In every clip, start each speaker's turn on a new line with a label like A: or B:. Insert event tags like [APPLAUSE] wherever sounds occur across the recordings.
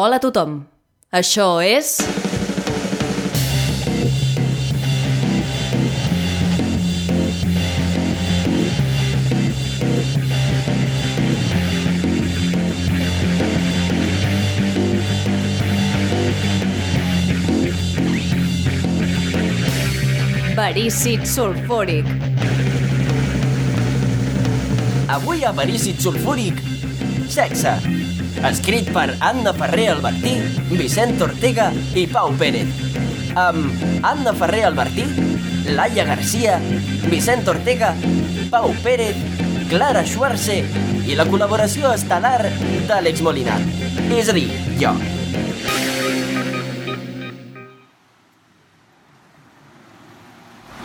A: Hola a tothom. Això és... Verícid sulfúric.
B: Avui a Verícid Sulfúric, sexe. Escrit per Anna Ferrer Albertí, Vicent Ortega i Pau Pérez. Amb Anna Ferrer Albertí, Laia Garcia, Vicent Ortega, Pau Pérez, Clara Schwarze i la col·laboració estel·lar d'Àlex Molinar. És a dir, jo.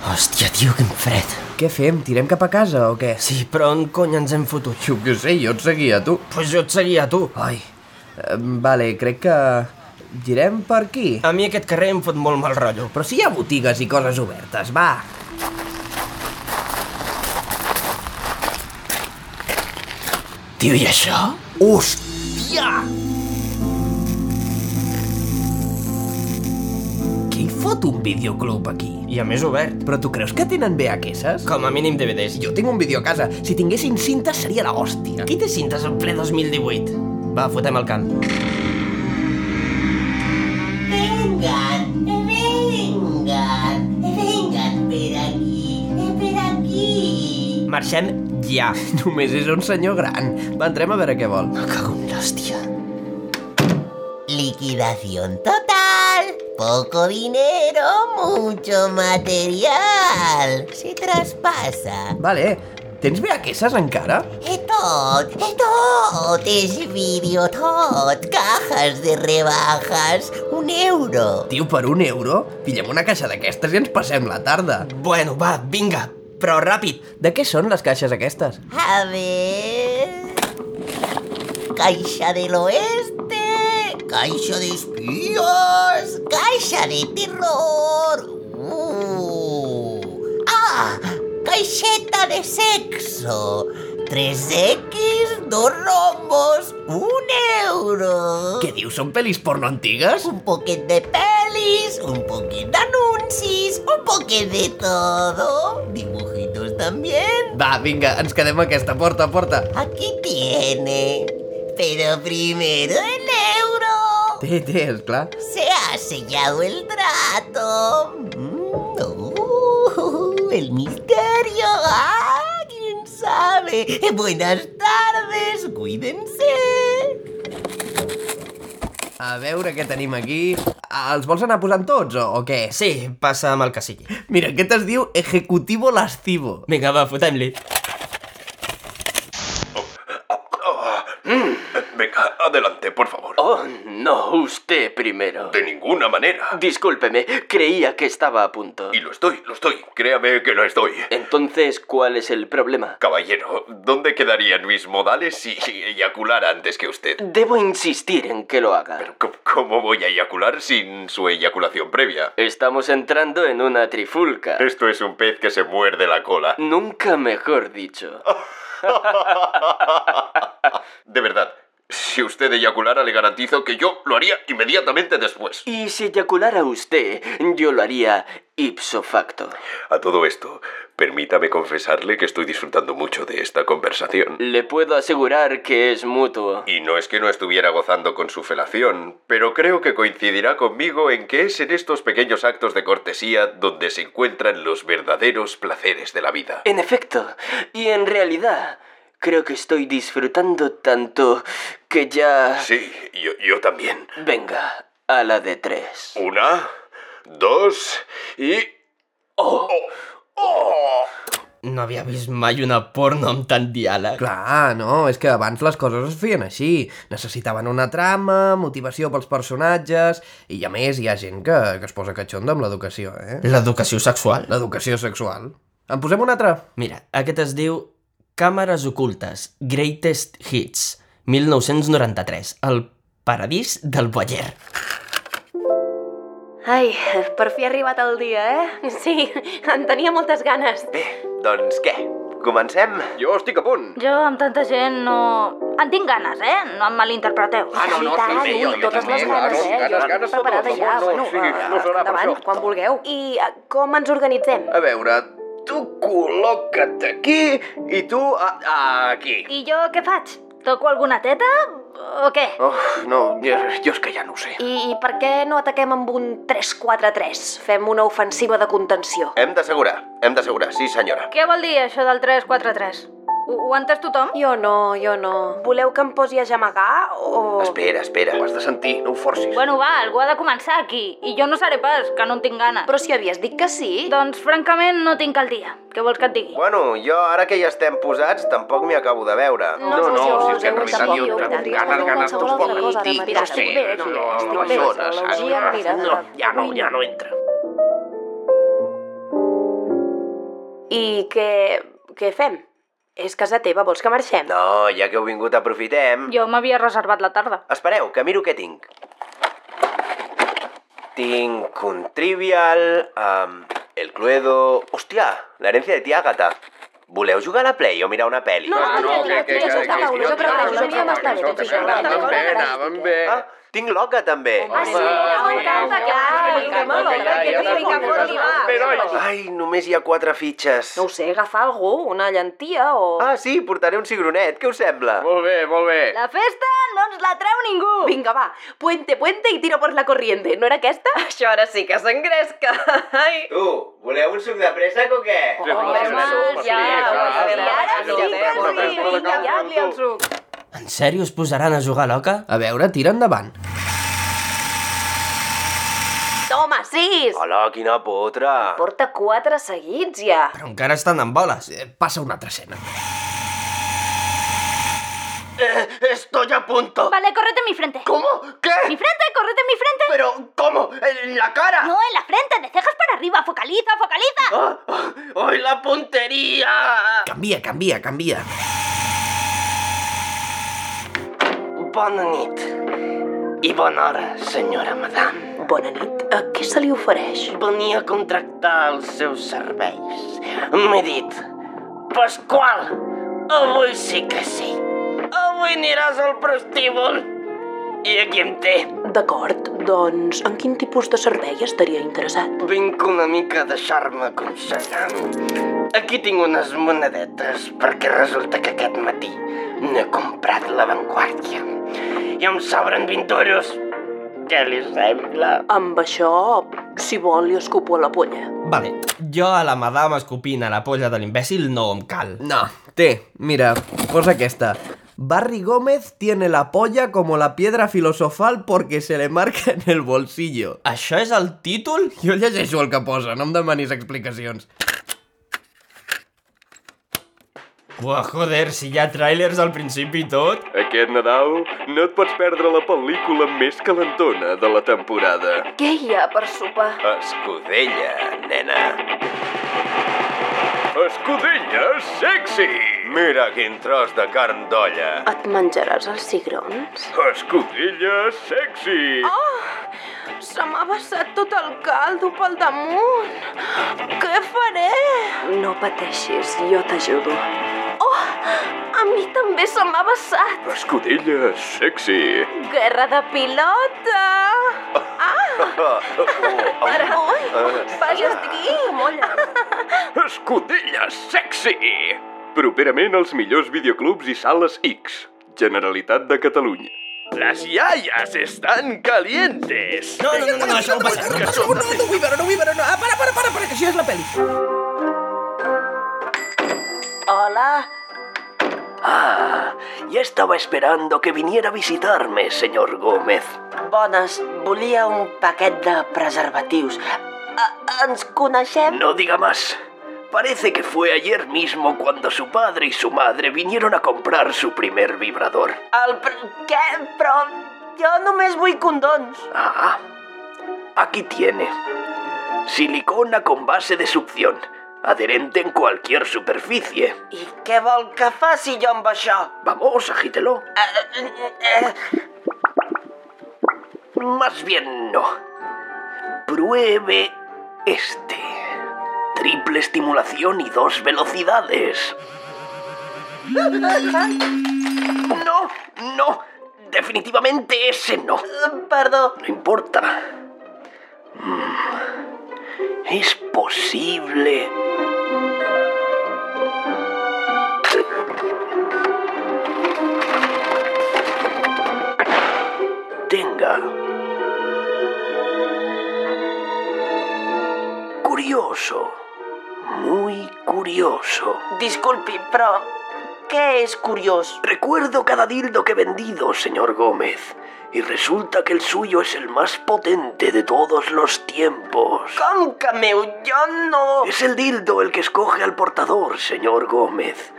B: Hòstia, tio, quin fred.
C: Què fem? Tirem cap a casa o què?
B: Sí, però on cony ens hem fotut?
C: Jo què sé, jo et seguia, tu.
B: Pues jo et seguia a tu.
C: Ai, eh, vale, crec que... Girem per aquí.
B: A mi aquest carrer em fot molt mal rotllo.
C: Però si hi ha botigues i coses obertes, va.
B: Tio, i això?
C: Hòstia! Qui fot un videoclub aquí?
B: I a més obert.
C: Però tu creus que tenen VHS?
B: Com a mínim DVDs.
C: Jo tinc un vídeo a casa. Si tinguessin cintes seria la hòstia.
B: Qui té cintes en ple 2018? Va, fotem el camp.
D: Vengan, vengan, vengan per aquí, per aquí.
B: Marxem ja.
C: [LAUGHS] Només és un senyor gran. Va, entrem a veure què vol.
B: Me cago en l'hòstia.
D: Liquidación total. Poco dinero, mucho material. Se traspasa. e
C: Vale, tens VHS encara?
D: Tot, tot es vídeo, tot. Cajas de rebajas, un euro.
C: Tio, per un euro? Pillem una caixa d'aquestes i ens passem la tarda.
B: Bueno, va, vinga. Però ràpid.
C: De què són les caixes aquestes?
D: A ver. Caixa del Oeste. Caixa de espías. Caixa de terror. Uh. Ah, caixeta de sexo. 3X, dos rombos, un euro.
C: Què dius, són pel·lis porno antigues?
D: Un poquet de pelis, un poquet d'anuncis, un poquet de todo. Dibujitos también.
C: Va, vinga, ens quedem a aquesta porta, porta.
D: Aquí tiene. Pero primero el euro.
C: Té, té, esclar.
D: Se ha sellado el trato. Mm, uh, el misterio. Ah, ¿Quién sabe? Eh, Buenas tardes. Cuídense.
C: A veure què tenim aquí. Ah, Els vols anar posant tots o, o què?
B: Sí, passa amb el que sigui.
C: Mira, aquest es diu Ejecutivo Lascivo.
B: Vinga, va, fotem-li.
E: Venga, adelante, por favor.
F: Oh, no, usted primero.
E: De ninguna manera.
F: Discúlpeme, creía que estaba a punto.
E: Y lo estoy, lo estoy. Créame que lo estoy.
F: Entonces, ¿cuál es el problema?
E: Caballero, ¿dónde quedarían mis modales si eyaculara antes que usted?
F: Debo insistir en que lo haga.
E: C- ¿Cómo voy a eyacular sin su eyaculación previa?
F: Estamos entrando en una trifulca.
E: Esto es un pez que se muerde la cola. [LAUGHS]
F: Nunca mejor dicho.
E: Ah. De verdad, si usted eyaculara, le garantizo que yo lo haría inmediatamente después.
F: Y si eyaculara usted, yo lo haría ipso facto.
E: A todo esto, permítame confesarle que estoy disfrutando mucho de esta conversación.
F: Le puedo asegurar que es mutuo.
E: Y no es que no estuviera gozando con su felación, pero creo que coincidirá conmigo en que es en estos pequeños actos de cortesía donde se encuentran los verdaderos placeres de la vida.
F: En efecto, y en realidad, creo que estoy disfrutando tanto que ya...
E: Sí, yo, yo también.
F: Venga, a la de tres.
E: Una, dos y...
B: No havia vist mai una porno amb tant diàleg.
C: Clar, no, és que abans les coses es feien així. Necessitaven una trama, motivació pels personatges... I a més hi ha gent que, que es posa catxonda amb l'educació, eh?
B: L'educació sexual?
C: L'educació sexual. En posem una altra?
B: Mira, aquest es diu Càmeres ocultes, Greatest Hits, 1993, el paradís del Boyer.
G: Ai, per fi ha arribat el dia, eh? Sí, en tenia moltes ganes.
F: Doncs què?
E: Comencem? Jo estic a punt.
G: Jo amb tanta gent no... En tinc ganes, eh? No em malinterpreteu.
H: Ah, no, no,
G: Sí, tant,
H: també,
G: ui,
H: jo també,
G: totes les
H: també,
G: ganes,
E: ganes,
G: eh?
E: ganes,
G: Jo
E: ganes,
G: preparada
E: totes,
G: ja.
E: no, no,
G: bueno,
E: sí,
H: eh,
E: no serà per
G: endavant,
E: això.
G: quan vulgueu.
H: I eh, com ens organitzem?
C: A veure, tu col·loca't aquí i tu a, a
E: Ah,
C: Ah, aquí.
G: I jo què faig? Toco alguna teta o què?
C: Oh, no, jo, jo és que ja no ho sé.
H: I, I per què no ataquem amb un 3-4-3? Fem una ofensiva de contenció.
E: Hem d'assegurar, hem d'assegurar, sí senyora.
G: Què vol dir això del 3-4-3? Ho, ho ha entès tothom?
H: Jo no, jo no. Voleu que em posi a gemegar o...
E: Espera, espera.
C: Ho has de sentir, no ho forcis.
G: Bueno, va, algú ha de començar aquí. I jo no seré pas, que no en tinc ganes.
H: Però si havies dit que sí.
G: Doncs, francament, no tinc el dia. Què vols que et digui?
E: Bueno, jo ara que ja estem posats tampoc m'hi acabo de veure.
H: No, no,
G: no,
H: si
G: si
H: és que en realitat jo ganes, ganes tots poc en tinc. Mira, estic bé, no, no, no, ja no, ja no entra. I què, què fem? És casa teva, vols que marxem?
E: No, ja que heu vingut aprofitem.
G: Jo m'havia reservat la tarda.
E: Espereu, que miro què tinc. Tinc un Trivial, um, el Cluedo... Hòstia, l'herència de tia Àgata. Voleu jugar a la Play o mirar una pel·li?
H: No, no, no, que, que, que, que, que, que, jo prefereixo, a mi ja m'està bé, tot això.
C: Anaven bé.
E: Ah, tinc l'oca, també.
H: Ah, sí, m'encanta, que m'encanta, que no vinc a fora, va.
E: Ai, només hi ha quatre fitxes.
H: No ho sé, agafar algú, una llentia o...
E: Ah, sí, portaré un cigronet, què us sembla?
C: Molt bé, molt bé.
G: La festa no ens la treu ningú!
H: Vinga, va, puente, puente i tiro por la corriente. No era aquesta? [LAUGHS] Això ara sí que s'engresca. Ai.
E: Tu, voleu un suc de préssec o què?
B: En sèrio us posaran a jugar a l'oca?
C: A veure, tira endavant.
H: Toma, sis!
E: Hola, quina potra.
H: Porta quatre seguits, ja.
B: Però encara estan en boles.
C: Eh, Passa una altra escena.
E: Eh,
F: Estoy a punto.
G: Vale, correte en mi frente.
F: ¿Cómo?
G: ¡Mi
F: ¿Qué?
G: frente! ¡Correte en mi frente!
F: ¿Pero cómo? ¿En la cara?
G: No, en la frente, de cejas para arriba. Focaliza, focaliza.
F: ¡Ah! ¡Ah! ¡Ay, la puntería!
C: Canvia, canvia, canvia.
F: Bona nit. I bona hora, senyora madame.
H: Bona nit. A què se li ofereix?
F: Venia a contractar els seus serveis. M'he dit, Pasqual, avui sí que sí. Avui aniràs al prostíbul. I aquí em té.
H: D'acord, doncs en quin tipus de servei estaria interessat?
F: Vinc una mica a deixar-me aconsellar. Aquí tinc unes monedetes perquè resulta que aquest matí n'he comprat la Vanguardia. I em sobren 20 euros. Què li sembla?
H: Amb això, si vol, li escupo a la polla.
B: Vale, jo a la madama escopint a la polla de l'imbècil no em cal.
C: No, té, mira, posa aquesta. Barry Gómez tiene la polla como la piedra filosofal porque se le marca en el bolsillo.
B: Això és el títol?
C: Jo llegeixo el que posa, no em demanis explicacions.
B: Buah, joder, si hi ha tràilers al principi i tot.
E: Aquest Nadal no et pots perdre la pel·lícula més calentona de la temporada.
H: Què hi ha per sopar?
E: Escudella, nena. Escudella sexy! Mira quin tros de carn d'olla.
H: Et menjaràs els cigrons?
E: Escudella sexy! Oh.
H: Se m'ha vessat tot el caldo pel damunt. Què faré? No pateixis, jo t'ajudo. Oh, a mi també se m'ha vessat.
E: Escudella sexy!
H: Guerra de pilota. Ah,
E: Oh, [LAUGHS] oh, oh.
H: ara, vaja, estic molla.
E: Escudella sexy! Properament als millors videoclubs i sales X. Generalitat de Catalunya. Les iaias estan calientes!
B: No, no, no, no, no això ho passa. Que som...
C: Oh, no vull veure, no vull veure, no. Ah, para, para, para, para, que això és la pel·li.
H: Hola,
F: Ya estaba Ah, esperando que viniera a visitarme, señor Gómez.
D: Bones, volia un paquet de preservatius. A ens coneixem?
F: No diga más. Parece que fue ayer mismo cuando su padre y su madre vinieron a comprar su primer vibrador.
D: El pr... Què? Però jo només vull condons.
F: Ah, aquí tiene. Silicona con base de succión, adherente en cualquier superficie.
D: I què vol que faci jo amb això?
F: Vamos, agítelo.
D: Eh, eh, eh,
F: Más bien no. Pruebe este.
E: triple estimulación y dos velocidades. No, no, definitivamente ese no.
D: Eh,
H: Perdó.
E: No importa. Mm, Es posible. Tenga. Curioso. Muy curioso.
H: Disculpi, però... Què és curiós?
E: Recuerdo cada dildo que he vendido, señor Gómez. Y resulta que el suyo es el más potente de todos los tiempos.
H: Com que meu? Jo no...
E: Es el dildo el que escoge al portador, señor Gómez.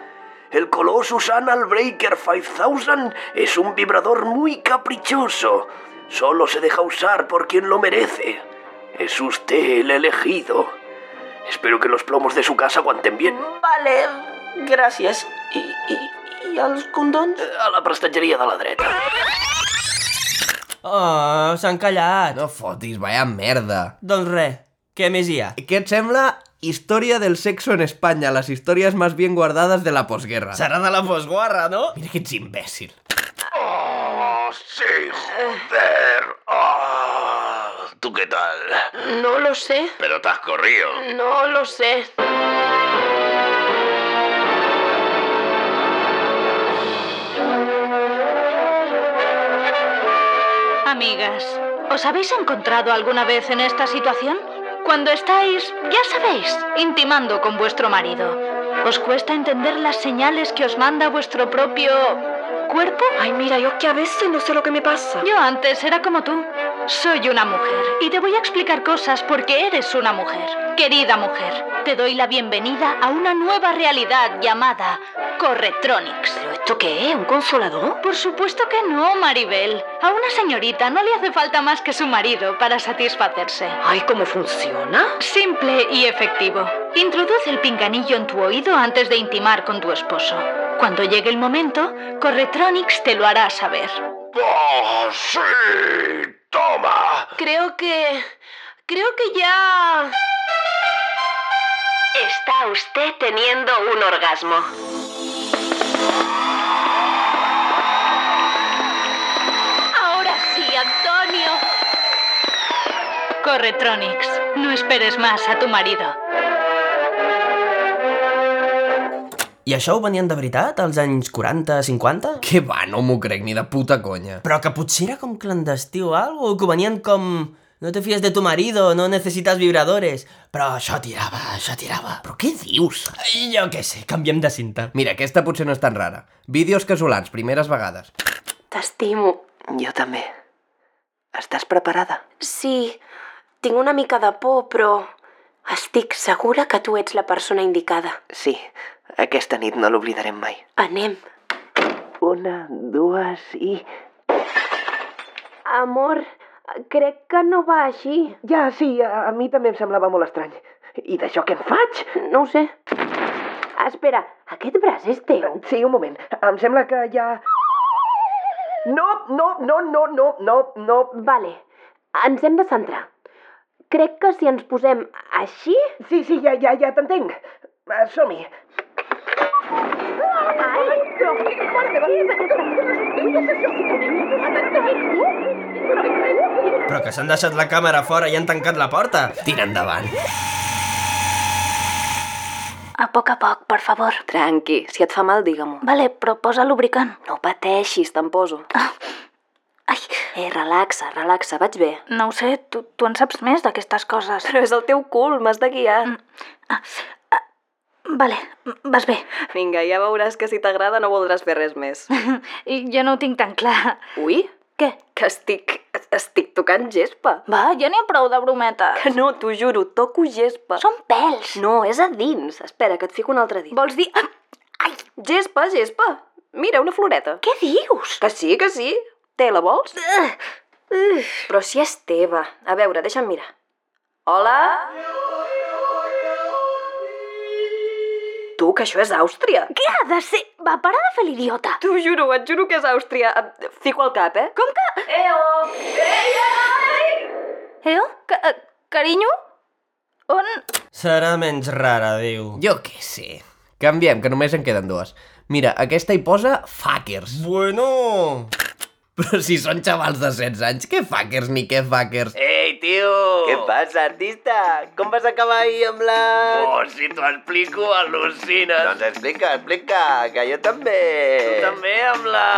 E: El Colossus Anal Breaker 5000 es un vibrador muy caprichoso. Solo se deja usar por quien lo merece. Es usted el elegido. Espero que los plomos de su casa aguanten bien.
H: Vale, gràcies. I, i, i els condons?
E: Eh, A la prestatgeria de la dreta.
B: Oh, s'han callat.
C: No fotis, vaya merda.
B: Doncs res, què més hi ha?
C: Què et sembla Historia del sexo en España, las historias más bien guardadas de la posguerra?
B: Serà de la posguarra, no?
C: Mira que ets imbècil.
I: Sí, joder. Ah, ¿Tú qué tal?
A: No lo sé.
I: Pero te has corrido.
A: No lo sé.
G: Amigas, ¿os habéis encontrado alguna vez en esta situación? Cuando estáis, ya sabéis, intimando con vuestro marido. ¿Os cuesta entender las señales que os manda vuestro propio cuerpo?
A: Ay, mira, yo que a veces no sé lo que me pasa.
G: Yo antes era como tú. Soy una mujer y te voy a explicar cosas porque eres una mujer. Querida mujer, te doy la bienvenida a una nueva realidad llamada Corretronics.
A: ¿Pero esto qué es? ¿Un consolador?
G: Por supuesto que no, Maribel. A una señorita no le hace falta más que su marido para satisfacerse.
A: Ay, ¿cómo funciona?
G: Simple y efectivo. Introduce el pinganillo en tu oído antes de intimar con tu esposo. Cuando llegue el momento, Corretronics te lo hará saber.
I: ¡Oh, sí! ¡Toma!
A: Creo que... Creo que ya... Está usted teniendo un orgasmo.
G: Ahora sí, Antonio. Corretronics, no esperes más a tu marido.
B: I això ho venien de veritat, als anys 40, 50?
C: Que va, no m'ho crec ni de puta conya.
B: Però que potser era com clandestí o algo, o que venien com... No te fies de tu marido, no necessitas vibradores. Però això tirava, això tirava. Però què dius? Ai, Jo què sé, canviem de cinta.
C: Mira, aquesta potser no és tan rara. Vídeos casolans, primeres vegades.
A: T'estimo.
H: Jo també. Estàs preparada?
A: Sí, tinc una mica de por, però... Estic segura que tu ets la persona indicada.
H: Sí, aquesta nit no l'oblidarem mai.
A: Anem.
H: Una, dues i...
A: Amor, crec que no va així.
H: Ja, sí, a, a mi també em semblava molt estrany. I d'això què en faig?
A: No ho sé. Espera, aquest braç és teu?
H: Sí, un moment. Em sembla que ja... No, no, no, no, no, no, no.
A: Vale, ens hem de centrar. Crec que si ens posem així...
H: Sí, sí, ja, ja, ja t'entenc. Va, Som-hi.
A: Ai, però... Mare meva, què és aquesta?
B: Però que s'han deixat la càmera fora i han tancat la porta.
C: Tira endavant.
G: A poc a poc, per favor.
A: Tranqui, si et fa mal, digue-m'ho.
G: Vale, però posa lubricant.
A: No pateixis, te'n poso.
G: Ai,
A: Eh, relaxa, relaxa, vaig bé.
G: no ho sé, tu, tu en saps més d'aquestes coses. Mm. Ah,
A: Però és el teu cul, m'has de guiar.
G: Vale, vas bé.
A: Vinga, ja veuràs que si t'agrada no voldràs fer res
G: [LAUGHS]
A: més.
G: Jo no ho tinc tan clar.
A: Ui,
G: Què?
A: que estic... estic tocant gespa.
G: Va, ja n'hi ha prou de brometes.
A: Que no, t'ho juro, toco gespa.
G: Són pèls.
A: No, és a dins. Espera, que et fico un altre dit.
G: Vols dir... Ai,
A: Gespa, gespa. Mira, una floreta.
G: què dius?
A: Que sí, que sí. Té, la vols?
G: Uh,
A: Però si és teva. A veure, deixa'm mirar. Hola? Tu, que això és Àustria.
G: què ha de ser? Va, para de fer l'idiota.
A: T'ho juro, et juro que és Àustria. Et fico al cap, eh? Com que... Eo! Ei, ei!
G: Eh? Ca eh, carinyo?
J: On...
B: Serà menys rara, diu.
C: Jo què sé. Canviem, que només en queden dues. Mira, aquesta hi posa fuckers. [LAUGHS]
B: Bueno...
C: Però si són xavals de 16 anys, què fuckers ni què fuckers?
K: ¡Ey, tío!
E: Què passa, artista? Com vas acabar ahir amb la...
K: Oh, si t'ho explico, al·lucines.
E: Doncs explica, explica, que jo també.
K: Tu també amb la...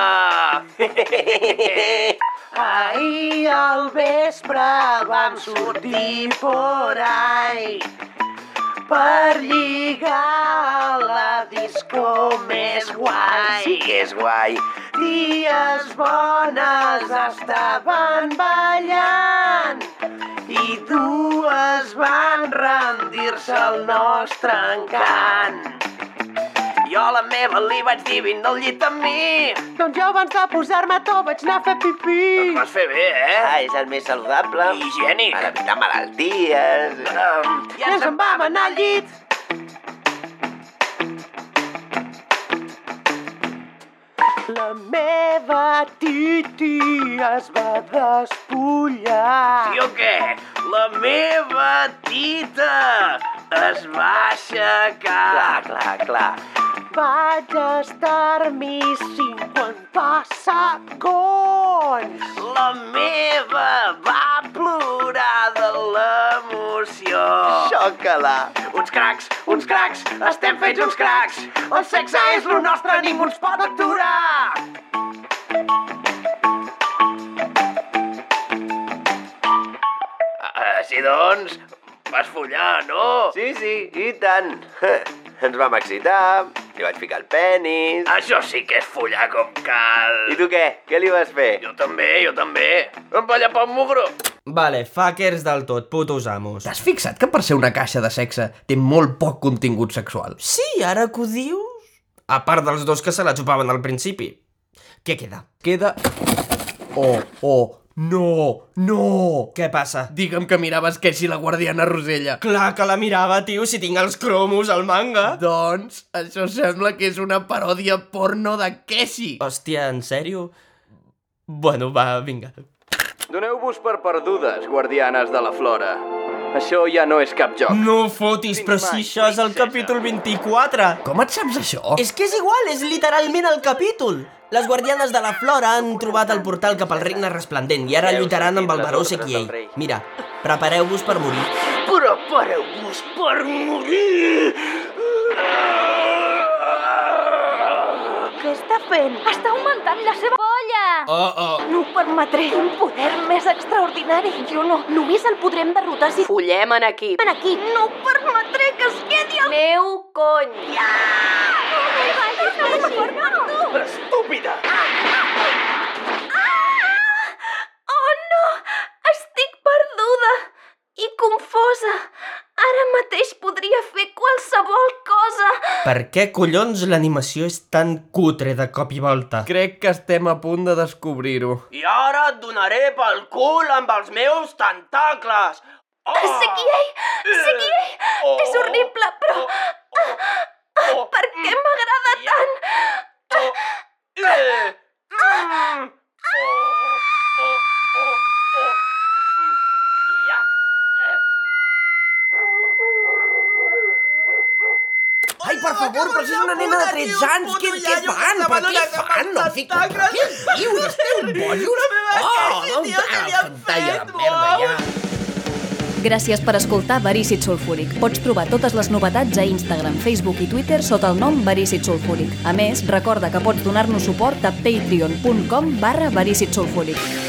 E: Ahir al vespre vam sortir por ahí per lligar a la disco més guai. Sí que és guai. Dies bones estaven ballant i dues van rendir-se al nostre encant. Jo a la meva li vaig dir vine al llit amb mi. Doncs jo abans de posar-me to vaig anar a Doncs fer pipí.
K: Ho Vas fer bé, eh?
E: Ah, és el més saludable.
K: Higiènic.
E: Per evitar malalties.
K: Um,
E: I ens en vam anar al llit. La meva titi es va despullar.
K: I o què? La meva tita es va aixecar.
E: Clar, clar, clar. Vaig estar-m'hi 50 segons.
K: La meva va plorar de l'emoció.
E: Xoca-la.
K: Uns cracs, uns cracs, estem fets uns cracs. El sexe és lo nostre, ningú ens pot aturar. Així doncs, vas follar, no?
E: Sí, sí, i tant. [LAUGHS] Ens vam excitar, li vaig ficar el penis...
K: Això sí que és follar com cal.
E: I tu què? Què li vas fer?
K: Jo també, jo també. Em va llapar un mugro.
B: Vale, fuckers del tot, putos amos.
C: T'has fixat que per ser una caixa de sexe té molt poc contingut sexual?
B: Sí, ara que ho dius... A part dels dos que se la xupaven al principi. Què queda?
C: Queda... Oh, oh, no, no!
B: Què passa?
C: Digue'm que miraves que si la guardiana Rosella.
B: Clar que la mirava, tio, si tinc els cromos al manga.
C: Doncs, això sembla que és una paròdia porno de Keshi.
B: Hòstia, en sèrio? Bueno, va, vinga.
L: Doneu-vos per perdudes, guardianes de la flora. Això ja no és cap joc.
B: No fotis, però si això és el capítol 24!
C: Com et saps això?
B: És que és igual, és literalment el capítol. Les guardianes de la flora han trobat el portal cap al regne resplendent i ara lluitaran amb el baró Sekiei. Mira, prepareu-vos per morir.
K: Prepareu-vos per morir!
G: Què està fent?
J: Està augmentant la seva polla!
B: Oh, oh.
G: No ho permetré. Un poder més extraordinari. Jo no. Només el podrem derrotar si... Follem en aquí. En aquí. No ho permetré que es quedi el... Meu cony. Ja! No m'hi vagis, no m'hi vagis.
K: Estúpida!
G: Oh, no! Estic perduda i confosa. Ara mateix podria fer qualsevol cosa.
B: Per què collons l'animació és tan cutre de cop i volta?
C: Crec que estem a punt de descobrir-ho.
K: I ara et donaré pel cul amb els meus tentacles! Oh!
G: Seguiei! Seguiei!
K: Oh.
G: És horrible, però...
K: oh.
G: Per què m'agrada tant?
K: Oh. Eh. Mm. Oh, oh, oh, oh. Mm. Ja. Eh.
C: Ai, per favor, però si és una nena de 13 anys, què, què fan? Però què fan? No fico... Però què diu? Esteu bojos? Oh, on va la pantalla de merda, ja?
A: Gràcies per escoltar Verícit Sulfúric. Pots trobar totes les novetats a Instagram, Facebook i Twitter sota el nom Verícit Sulfúric. A més, recorda que pots donar-nos suport a patreon.com barra Verícit Sulfúric.